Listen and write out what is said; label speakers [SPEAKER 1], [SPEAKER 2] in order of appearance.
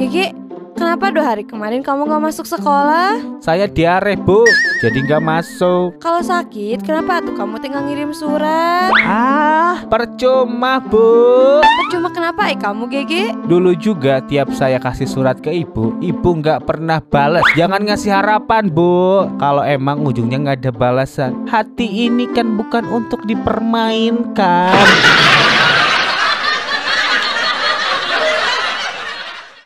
[SPEAKER 1] Gigi, kenapa dua hari kemarin kamu gak masuk sekolah?
[SPEAKER 2] Saya diare bu, jadi nggak masuk.
[SPEAKER 1] Kalau sakit, kenapa tuh kamu tinggal ngirim surat?
[SPEAKER 2] Ah, percuma bu.
[SPEAKER 1] Percuma kenapa eh kamu Gigi?
[SPEAKER 2] Dulu juga tiap saya kasih surat ke ibu, ibu nggak pernah balas. Jangan ngasih harapan bu. Kalau emang ujungnya nggak ada balasan, hati ini kan bukan untuk dipermainkan.